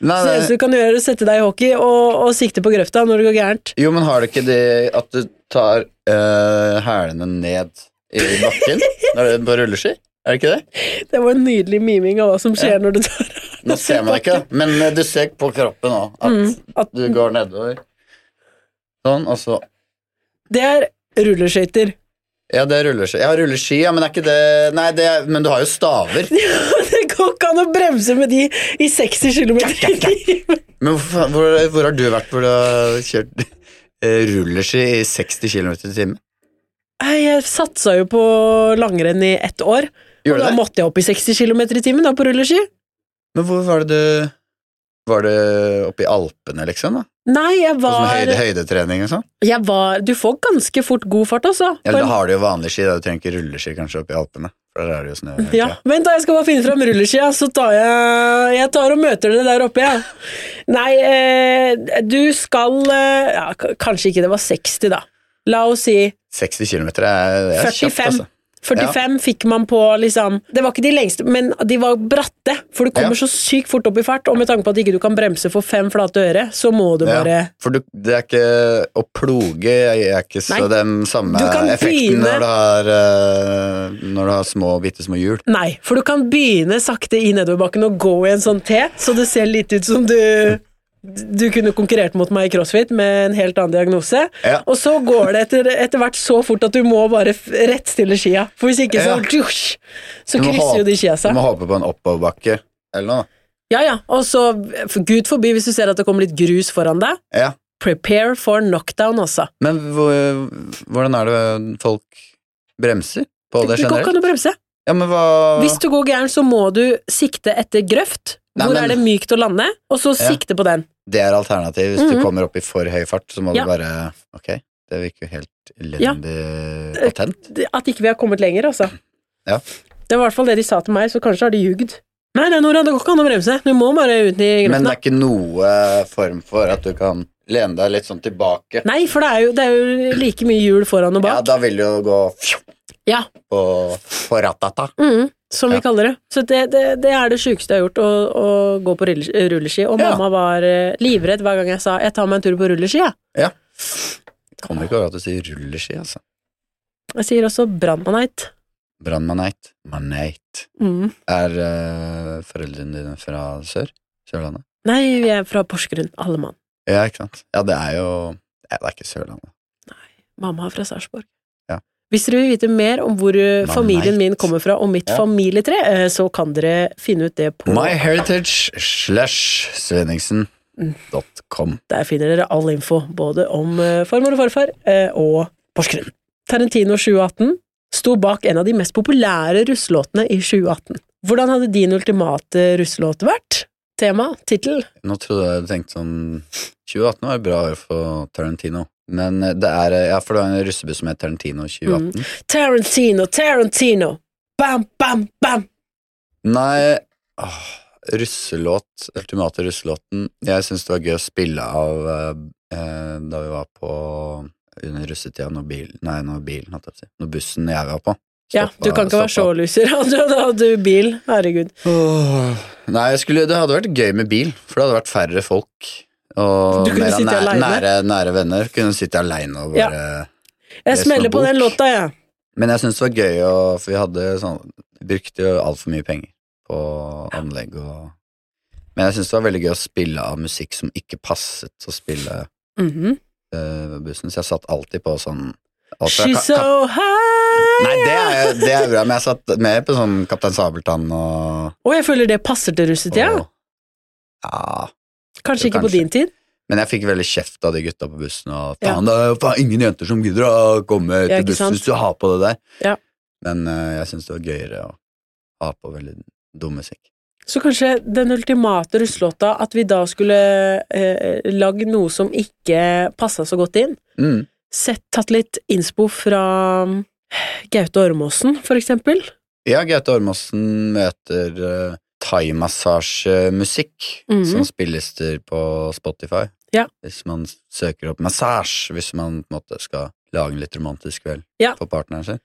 Nei,
Så det eneste
nei.
du kan gjøre, er å sette deg i hockey og, og sikte på grøfta når det går gærent.
Jo, men har du ikke det at du tar eh, hælene ned i bakken når du er på rulleski? Er det ikke det?
Det var en nydelig miming av hva som skjer når du tar
Nå ser man ikke, da. men eh, du ser på kroppen nå at
Mm, at-
du går nedover. Sånn, og så
Det er rulleskøyter.
Ja, det er rulleski. Ja, rulleski, ja, men er ikke det Nei, det er... men du har jo staver.
Det går ikke an å bremse med de i 60 km i timen.
Men hvor, faen- hvor, hvor har du vært hvor du har kjørt eh, rulleski i 60 km i timen?
Nei, Jeg satsa jo på langrenn i ett år. Og
Gjorde
da
du det?
måtte jeg opp i 60 km i timen da, på rulleski.
Men hvor var det du Var det oppe i Alpene, liksom? da?
Nei, jeg
Og sånn
var,
høyde, høydetrening og sånn?
jeg var Du får ganske fort god fart, altså.
Ja,
På
da
en-
har du jo vanlig ski, da. Du trenger ikke rulleski kanskje oppe i Alpene. For der er det jo snø. hele
Ja,
tiden.
Vent, da, jeg skal bare finne fram rulleskia, så tar jeg Jeg tar og møter dere der oppe, jeg. Nei, eh, du skal eh, ja, k- Kanskje ikke det var 60, da. La oss si
60 km er, det er kjapt,
45.
altså.
45 fikk man på liksom Det var ikke de lengste, men de var bratte. For du kommer
Ja.
så sykt fort opp i fart, og med tanke på at ikke du kan bremse for fem flate øre, så må du
Ja,
bare
for du, det er ikke Å ploge er ikke så
Nei.
den samme
Du kan
effekten
begynne-
når du, har, eh, når du har små, bitte små hjul.
Nei, for du kan begynne sakte i nedoverbakken og gå i en sånn T, så det ser litt ut som du du kunne konkurrert mot meg i crossfit med en helt annen diagnose.
Ja.
Og så går det etter, etter hvert så fort at du må bare f- rettstille skia. For hvis ikke så
Ja.
tjusj, Så
Du må
krysser jo de skia
Du
seg.
må håpe på en oppoverbakke eller noe.
Ja, ja. Og så, for gud forby, hvis du ser at det kommer litt grus foran deg,
Ja.
prepare for knockdown, altså.
Men hvor, hvordan er det folk bremser på det
Det går ikke
generelt?
an å bremse.
Ja, men hva
Hvis du går gæren, så må du sikte etter grøft.
Nei,
Hvor
men-
er det mykt å lande, og så
Ja.
sikte på den.
Det er alternativet.
Mhm.
Hvis du kommer opp i for høy fart, så må
Ja.
du bare Ok, det virker jo helt elendig
Eh,
patent.
Det- At ikke vi har kommet lenger, altså.
Ja.
Det var i hvert fall det de sa til meg, så kanskje har de ljugd. Nei, nei, Nora, det går ikke an å bremse. Du må bare ut i
Men det
grøfta.
er ikke noe eh, form for at du kan lene deg litt sånn tilbake.
Nei, for det er, jo, det er jo like mye hjul foran og
Ja,
bak.
da vil det jo gå fjo
Ja.
på forratata.
Mhm, som vi
Ja.
kaller det. Så det, det, det er det sjukeste jeg har gjort, å, å gå på rulle- rulleski. Og
Ja.
mamma var eh, livredd hver gang jeg sa 'jeg tar meg en tur på rulleski', jeg.
Ja. Kommer ikke over at du sier rulleski, altså.
Jeg sier også 'brannmaneit'.
Brannmaneit. Maneit.
Mhm.
Er eh, foreldrene dine fra sør? Sørlandet?
Nei, vi er fra Porsgrunn, alle mann.
Ja, ikke sant? Ja, det er jo Nei, det er ikke Sørlandet.
Mamma er fra Sarpsborg.
Ja.
Hvis dere vil vite mer om hvor eh,
Man
familien
vet.
min kommer fra, og mitt
Ja.
familietre, eh, så kan dere finne ut det på
MyHeritage slash
Mm.
svenningsen.com.
Der finner dere all info, både om eh, farmor og farfar eh, og Porsgrunn. Tarantino 2018 sto bak en av de mest populære russelåtene i 2018. Hvordan hadde din ultimate russelåt vært? Tema? Tittel?
Nå trodde jeg du tenkte sånn 2018 var et bra år for Tarantino. Men eh, det er eh, Ja, for det var en russebuss som het Tarantino
Mm.
2018.
Tarantino, Tarantino! Bam, bam, bam!
Nei åh, Russelåt, ultimate russelåten Jeg syns det var gøy å spille av eh, eh, da vi var på under russetida, når bilen Nei, når bilen, holdt jeg på å si. Når bussen jeg var på.
Ja, du kan ikke være så loser. Da hadde du bil. Herregud.
Åh, Nei, jeg skulle, det hadde vært gøy med bil, for det hadde vært færre folk. Og
Du kunne
mer av
sitte
nære,
alene.
nære, nære venner. Kunne sitte aleine og bare
Jeg
Lese
smeller
noe
på den
bok.
låta, jeg.
Men jeg syns det var gøy, å- for vi hadde sånn Brukte jo altfor mye penger på anlegg og Men jeg syns det var veldig gøy å spille av musikk som ikke passet å spille
Mhm.
eh, på bussen, så jeg satt alltid på sånn alt fra
She's
Ka- Ka-
so high!
Nei, det er, det er bra, men jeg satt mer på sånn Kaptein Sabeltann og,
Og jeg føler det passer til
og
russetida.
ja.
Kanskje ikke på
kanskje.
din tid.
Men jeg fikk veldig kjeft av de gutta på bussen. Og
Ja.
faen, det er jo faen ingen jenter som gidder å komme
Ja,
til
ikke sant?
bussen hvis du har på det der.
Ja.
Men eh, jeg syns det var gøyere å ha på veldig dum musikk.
Så kanskje den ultimate russelåta, at vi da skulle eh, lagd noe som ikke passa så godt inn.
Mm.
Sett, tatt litt innspo fra mm, Gaute Ormåsen, for eksempel.
Ja, Gaute Ormåsen møter uh, thaimassasjemusikk
Mhm.
som spilles til på Spotify.
Ja.
Hvis man søker opp massasje, hvis man på en måte skal lage en litt romantisk kveld
Ja.
for partneren sin.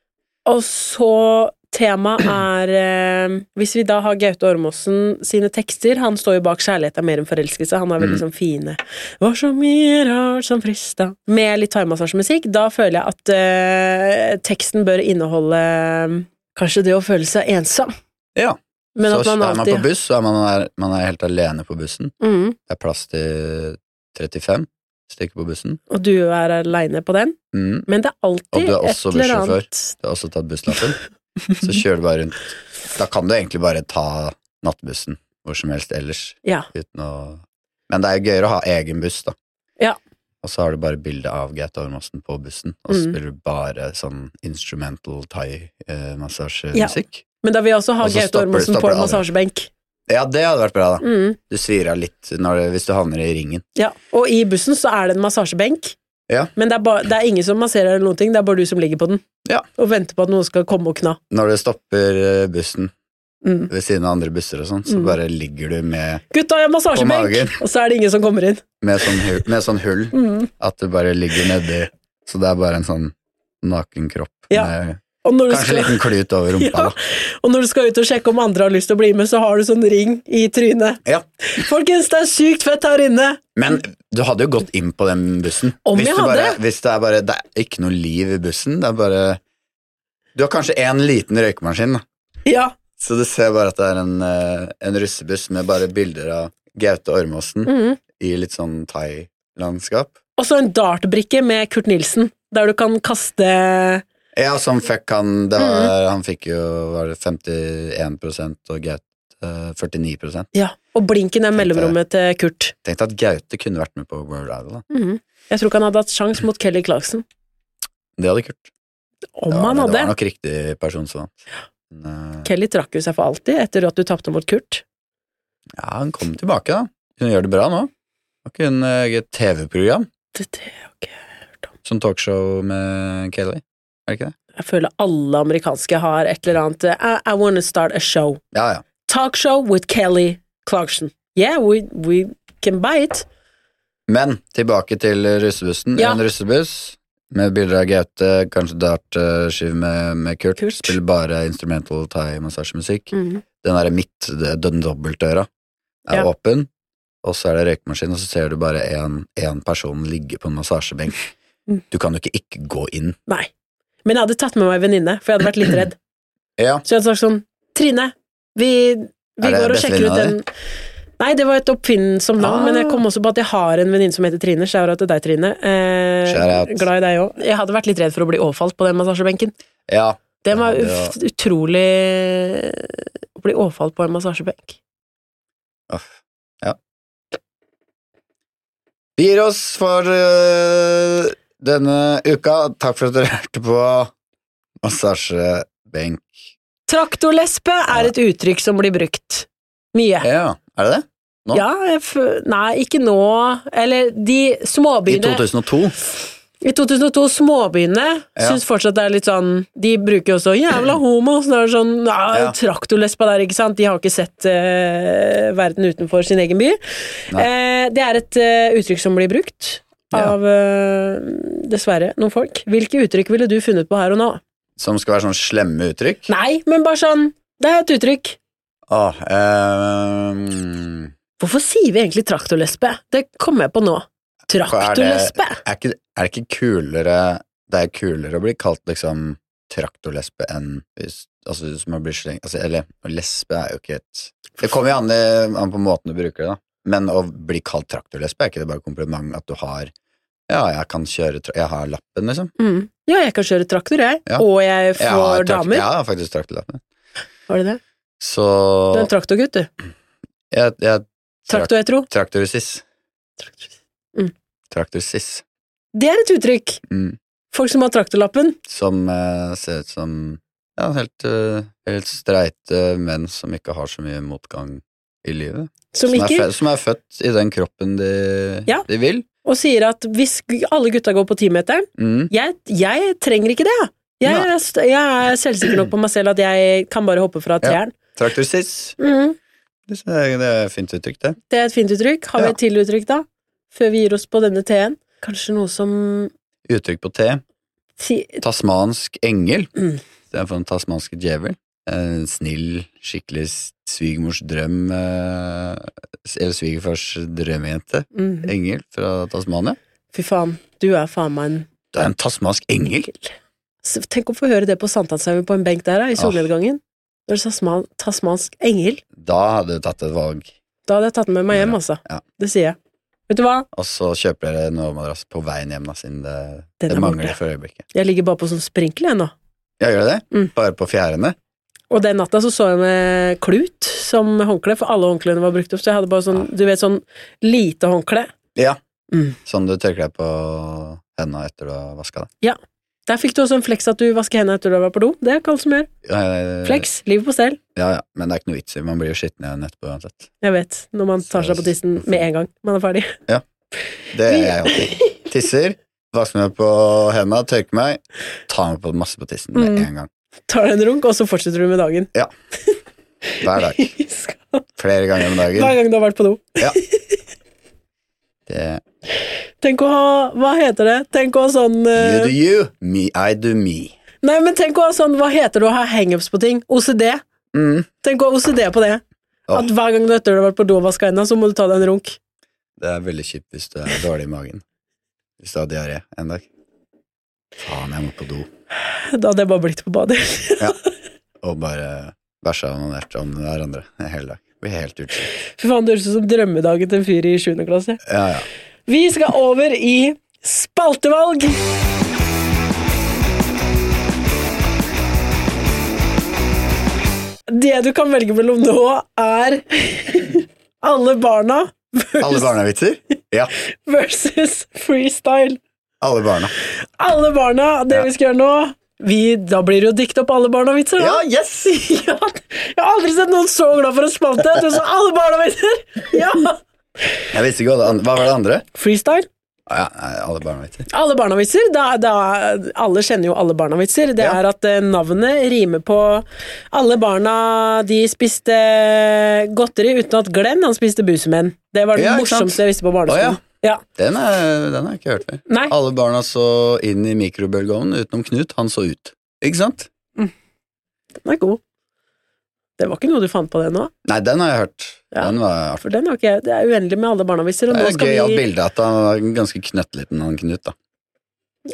Og så temaet er eh, Hvis vi da har Gaute Ormåsen sine tekster Han står jo bak 'Kjærlighet er mer enn forelskelse'. Han har veldig sånn fine 'Var så mye rart som frista' Med litt thaimassasjemusikk. Da føler jeg at eh, teksten bør inneholde eh, kanskje det å føle seg ensom.
Ja.
Men
så
at man
er man på
alltid
buss, så er man, er, man er helt alene på bussen.
mm,
Det er plass til 35 stykker på bussen.
Og du er aleine på den.
Mm.
Men det er alltid
Og du er også
et eller
bussjåfør.
annet
Du har også tatt busslappen. Så kjører du bare rundt. Da kan du egentlig bare ta nattbussen hvor som helst ellers.
Ja.
Uten å Men det er jo gøyere å ha egen buss, da.
Ja.
Og så har du bare bilde av Gaute Ormåsen på bussen, og så
Mm.
spiller du bare sånn instrumental
Ja.
thai-massasjemusikk.
Men da vil jeg også ha
Og så
Gaute
stopper-
Ormåsen på
stopper
en
det aldri.
massasjebenk.
Ja. det hadde vært bra, da.
Mm,
Du svir av litt når du, hvis du havner i ringen.
ja. Og i bussen så er det en massasjebenk.
Ja.
Men det er, ba, det er ingen som masserer eller noen ting, det er bare du som ligger på den.
Ja.
Og venter på at noen skal komme og kna.
Når du stopper eh, bussen
Mm.
ved siden av andre busser og sånn, så
Mm.
bare ligger du med,
Gutta, jeg har
På magen.
massasjebenk! Og så er det ingen som kommer inn.
med, sånn, hu- med sånn hull
Mm.
At du bare ligger nedi. Så det er bare en sånn naken kropp
Ja.
med
Og, når du
kanskje
skal,
en liten klut over rumpa,
Ja.
da.
og når du skal ut og sjekke om andre har lyst til å bli med, så har du sånn ring i trynet.
Ja.
Folkens, det er sykt fett her inne!
Men du hadde jo gått inn på den bussen.
Om
hvis,
jeg
du bare,
hadde?
hvis det er bare Det er ikke noe liv i bussen. Det er bare Du har kanskje én liten røykemaskin, da.
Ja.
Så du ser bare at det er en, eh, en russebuss med bare bilder av Gaute Ormåsen
Mhm.
i litt sånn thailandskap.
Og så en dartbrikke med Kurt Nilsen, der du kan kaste
Ja, som fuck han det
Mm.
var, Han fikk jo var det 51 og Gaute eh, 49
Ja, og blinken er mellomrommet til Kurt.
Tenk deg at Gaute kunne vært med på World Idol, da.
Mm. Jeg tror ikke han hadde hatt sjans mot Kelly Clarkson.
Det hadde Kurt.
Om
det, var,
han
det var
hadde.
nok riktig person som vant. Men, eh,
Kelly trakk jo seg for alltid etter at du tapte mot Kurt.
ja, han kom tilbake, da. Hun gjør det bra nå. Har ikke hun eh, et TV-program?
Det, det, ok.
Sånn talkshow med Kelly? Er det ikke det?
Jeg føler alle amerikanske har et eller annet eh, I, I wanna start a show.
Ja, ja.
Talk show with Kelly Clarkson. Yeah, we, we can buy it.
Men tilbake til russebussen.
Ja.
En russebuss med bilder av Gaute, kanskje dartskive med, med Kurt.
Kurt.
Spiller bare instrumental thai-massasjemusikk. Den derre midt, det- den dobbeltdøra,
Mm.
er
Ja.
åpen. Og så er det røykemaskin, og så ser du bare én person ligge på en massasjebenk.
Mm.
Du kan jo ikke ikke gå inn.
Nei. Men jeg hadde tatt med meg en venninne, for jeg hadde vært litt redd.
Ja.
Så jeg hadde sagt sånn Trine, vi, vi
Er det
går og sjekker ut
bestevenninna
den Nei, det var et oppfinnsomt navn,
Ah.
men jeg kom også på at jeg har en venninne som heter Trine. Shout out til deg, Trine. Eh,
Shout out.
glad i deg òg. Jeg hadde vært litt redd for å bli overfalt på den massasjebenken.
Ja,
Det var
Ja, det
uff- utrolig eh, Å bli overfalt på en massasjebenk.
Uff. Ja. Vi gir oss for øh, denne uka. Takk for at dere hørte på massasjebenk.
Traktorlesbe er et uttrykk som blir brukt mye.
Ja, er det det? Nå?
Ja, jeg f nei, ikke nå Eller de
I
småbyene
2002?
I 2002, småbyene
Ja.
syns fortsatt det er litt sånn De bruker jo også 'jævla homo', så det er det sånn ah,
Ja.
traktorlespa der, ikke sant? De har ikke sett eh, verden utenfor sin egen by. Eh, det er et eh, uttrykk som blir brukt
Ja.
av eh, dessverre noen folk. Hvilke uttrykk ville du funnet på her og nå?
Som skal være sånn slemme uttrykk?
Nei, men bare sånn Det er et uttrykk.
Åh, ehm,
Hvorfor sier vi egentlig traktorlespe? Det kommer jeg på nå.
hva er det-
Traktorlespe!
Er, ikke- er det ikke kulere Det er kulere å bli kalt liksom traktorlesbe enn hvis Altså hvis man blir slengt altså, Eller lesbe er jo ikke et Det kommer jo an, i- an på måten du bruker det, da. Men å bli kalt traktorlesbe, er ikke det bare kompliment at du har Ja, jeg kan kjøre tra Jeg har lappen, liksom.
Mm. Ja, jeg kan kjøre traktor, jeg.
Ja.
Og jeg
Jeg har,
får
trakt-
damer.
jeg har faktisk traktorlappen.
Var det det? Du er
Så
en traktorgutt, du.
jeg, jeg
Traktor, jeg tror.
Traktorsis.
Mm.
Traktorsis.
Det er et uttrykk.
Mm.
Folk som har traktorlappen.
Som eh, ser ut som ja, helt, eh, helt streite menn som ikke har så mye motgang i livet.
Som
er,
ikke,
fø- som er født i den kroppen de,
Ja.
de vil.
og sier at hvis gu- alle gutta går på timeteren
Mm.
jeg, jeg trenger ikke det, jeg. Jeg,
Nei.
er st- jeg er selvsikker nok på meg selv at jeg kan bare hoppe fra treeren.
Traktorsis.
Mm.
Det er det er fint uttrykk, det.
Det er et fint uttrykk. Har vi
Ja.
et til uttrykk, da? Før vi gir oss på denne T-en. Kanskje noe som
Uttrykk på T.
si-
Tasmansk engel.
Mm.
Det er for den tasmanske djevel. En snill, skikkelig svigermors drøm eh, Eller svigerfars drømmejente.
mm.
Engel fra Tasmania.
Fy faen, du er faen meg en
Du er en tasmansk engel.
S- Tenk å få høre det på Sankthanshaugen på en benk der, da, i solnedgangen. Når det sa sma- tasmansk engel.
Da hadde du tatt et valg.
Da hadde jeg tatt den med meg hjem, altså.
Ja.
Det sier jeg. Vet du hva?
Og så kjøper dere en overmadrass på veien hjem, da, siden det,
Den
det
er
mangler
borte.
for øyeblikket.
Jeg ligger bare på sånn sprinkel, jeg nå.
Ja, gjør det det?
Mm.
Bare på fjærene?
Og den natta så så jeg med klut som håndkle, for alle håndklærne var brukt opp. Så jeg hadde bare sånn, du vet, sånn lite håndkle.
Ja.
Mm.
Sånn du tørker deg på henda etter du har vaska deg.
Der fikk du også en fleks at du vasker hendene etter du har vært på do. Det er ikke alle som gjør.
Eh,
Fleks, liv på stell.
Ja, ja, men det er ikke noe vits i. Man blir jo skitten igjen etterpå uansett.
Jeg vet, når man tar seg på tissen med en gang man er ferdig.
Det gjør jeg alltid. Tisser, vasker meg på henda, tørker meg, tar meg på masse på tissen med
Mm.
en gang.
Tar deg en runk, og så fortsetter du med dagen.
Hver dag.
Hver
Flere ganger om dagen.
gang du har vært på do.
Det,
Tenk å ha Hva heter det? Tenk å ha sånn
you
eh,
do you, me I do me.
Nei, men tenk å ha sånn Hva heter det å ha hangups på ting? OCD.
Mm.
Tenk å ha OCD på det.
Åh.
At hver gang du etter du har vært på do og vaska hendene, så må du ta deg en runk.
Det er veldig kjipt hvis du er dårlig i magen. Hvis du har diaré en dag. Faen, jeg må på do.
Da hadde jeg bare blitt på badet.
Og bare bæsja og onanert om hverandre en hel dag. Blir helt utslitt.
Fy faen, det høres ut som drømmedagen til en fyr i 7. klasse.
Ja, ja.
Vi skal over i spaltevalg. Det du kan velge mellom nå, er alle barna
Alle barnevitser? Ja.
versus freestyle.
Alle barna.
Alle barna, det
Ja.
vi skal gjøre nå vi, Da blir det jo dikt opp alle barna-vitser. da.
Ja, yes!
Ja, jeg har aldri sett noen så glad for å spalte. Du sa alle barna-vitser! Ja.
Jeg visste ikke hva det andre Hva var det andre?
Freestyle.
Å Ja, nei, alle barnevitser.
Alle barna-vitser. Da, da, alle kjenner jo alle barna-vitser. Det
Ja.
er at eh, navnet rimer på Alle barna de spiste eh, godteri uten at Glenn han spiste busemenn. Det var det
Ja, ikke sant?
morsomste jeg visste på barneskolen.
Å,
ja.
Den, er, den har jeg ikke hørt før.
Nei.
Alle barna så inn i mikrobølgeovnen utenom Knut. Han så ut. Ikke sant?
den er god. Det var ikke noe du fant på det nå,
Nei, den har jeg hørt.
Ja.
Den var artig.
for den har ikke jeg. Det er uendelig med alle barna-vitser, og
Det
nå
er
skal
gøyalt
vi
bilde at han var ganske knøttliten, han Knut, da.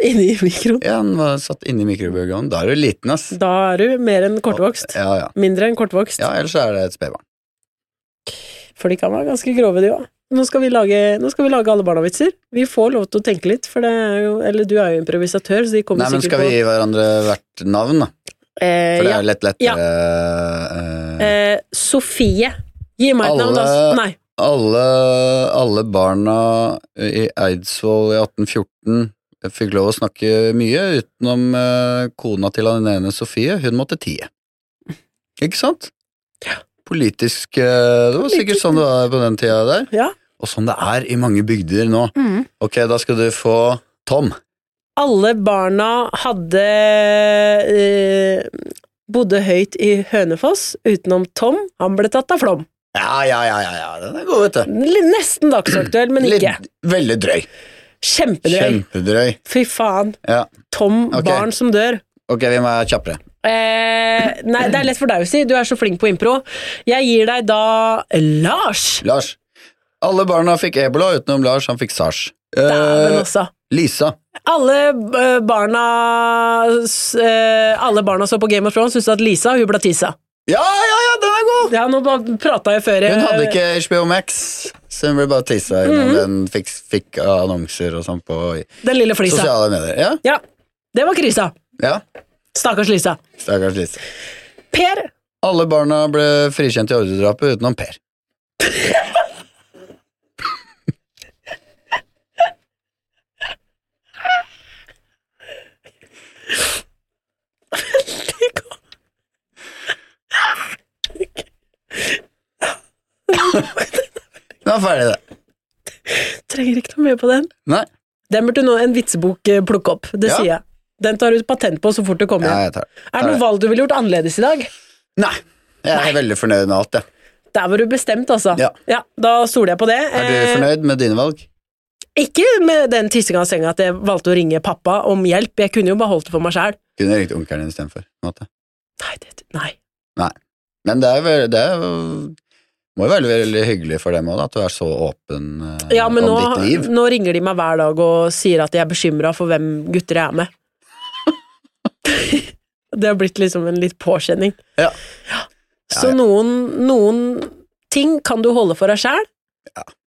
inn i mikroen.
Ja, han var satt inne i mikrobølgeovnen. Da er du liten, ass.
Da er du mer enn kortvokst.
Ja, ja.
Mindre enn kortvokst.
Ja, ellers er det et spedbarn.
For de kan være ganske grove, de òg. Nå skal vi lage, nå skal vi lage alle barna-vitser. Vi får lov til å tenke litt, for det er jo Eller du er jo improvisatør, så de kommer
Nei, men
sikkert
skal vi gi hverandre hvert navn, da?
på eh,
For det
ja.
er jo lett
Ja.
lettere eh,
eh, Sofie. Gi meg et navn, da.
Alle-
Nei.
alle, alle barna i Eidsvoll i 1814 fikk lov å snakke mye, utenom eh, kona til den ene Sofie. Hun måtte tie. Ikke sant? Politisk eh, Det var sikkert sånn det var på den tida der.
Ja. Mm.
Og sånn det er i mange bygder nå. Ok, da skal du få Tom.
Alle barna hadde eh, bodde høyt i Hønefoss, utenom Tom. Han ble tatt av flom.
Ja, ja, ja, ja, ja. den er god, vet du.
L- Nesten dagsaktuell, men ikke.
Litt, veldig drøy.
Kjempedrøy.
Kjempedrøy.
Fy faen.
Ja.
Tom,
Ok.
barn som dør.
Ok, vi må være kjappere.
Eh, nei, det er lett for deg å si. Du er så flink på impro. Jeg gir deg da Lars.
Lars. Alle barna fikk ebola utenom Lars, han fikk sars. Eh,
Dæven altså. også.
Lisa.
Alle eh, barna s- eh, Alle barna så på Game of Thrones, syntes at Lisa hun ble tissa.
Ja, ja, ja, den er god!
Ja, nå prata jeg før eh, jeg-
Hun hadde ikke HBO Max, så hun ble bare tisa
Mm.
innom. Den fikk, fikk annonser og sånn på
den lille flisa.
sosiale medier. Ja,
Ja, det var krisa.
ja.
Stakkars Lisa.
Stakkars Lisa.
Per,
Alle barna ble frikjent i ordredrapet utenom Per. Nå er ferdig, det.
trenger ikke noe mye på den.
Nei.
Den burde nå en vitsebok eh, plukke opp, det
Ja.
sier jeg. Den tar du patent på så fort du kommer.
Ja,
hjem.
jeg tar det.
er det
Tar
noe
det.
valg du ville gjort annerledes i dag?
Nei. Jeg er veldig fornøyd med alt, jeg.
Der var du bestemt, altså.
Ja.
da stoler jeg på det.
Er du fornøyd med dine valg?
Eh, ikke med den tissinga av senga at jeg valgte å ringe pappa om hjelp. Jeg kunne jo bare holdt det for meg sjæl.
Kunne ringt onkelen din istedenfor. på en måte.
Nei, det, nei.
Nei. Men det er vel Det er, jo- må jo være veldig hyggelig for dem òg, at du er så åpen eh,
Ja, men
om
nå,
ditt liv.
nå ringer de meg hver dag og sier at jeg er bekymra for hvem gutter jeg er med. det har blitt liksom en litt påkjenning.
Ja.
Så noen, noen ting kan du holde for deg sjæl,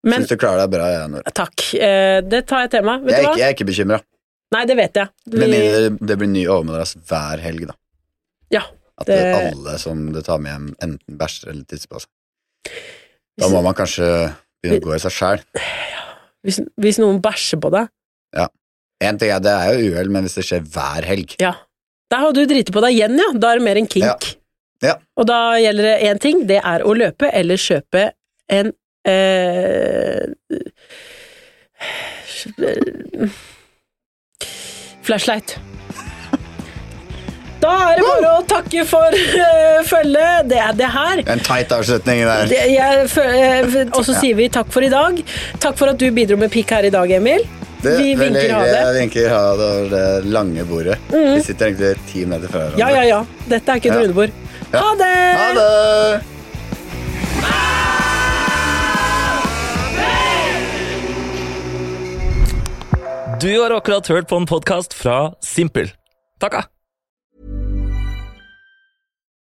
men
Syns du klarer deg bra, jeg, Nora.
Takk. Eh, det tar jeg til meg. Vet du
Jeg er
hva?
ikke, jeg er ikke bekymra.
Nei, det vet jeg.
Med mindre det- det blir ny overmadrass hver helg, da.
ja.
At
Det-
det... alle som du tar med hjem, enten bæsjer eller tisser på seg. Da må man kanskje begynne å gå i seg sjæl.
hvis, hvis noen bæsjer på deg
Én ting er det er jo uhell, men hvis det skjer hver helg
Ja. Der har du driti på deg igjen, ja. Da er det mer en kink.
Ja.
Og da gjelder det én ting. Det er å løpe eller kjøpe en eh, Flashlight. Da er det bare å takke for eh, følget. Det er det her.
En tight avslutning der.
Det, jeg, fø- eh, og så sier vi takk for i dag. Takk for at du bidro med pikk her i dag, Emil.
Det-
vi
veldig
vinker ha
hyggelig.
det.
Jeg vinker ha det over det lange bordet. Vi sitter egentlig ti meter fra hverandre.
Ja, ja, ja. Dette er ikke et
Ja.
rundebord. Ha det!
Ha det!
Du har akkurat hørt på en podkast fra Simpel. Takka!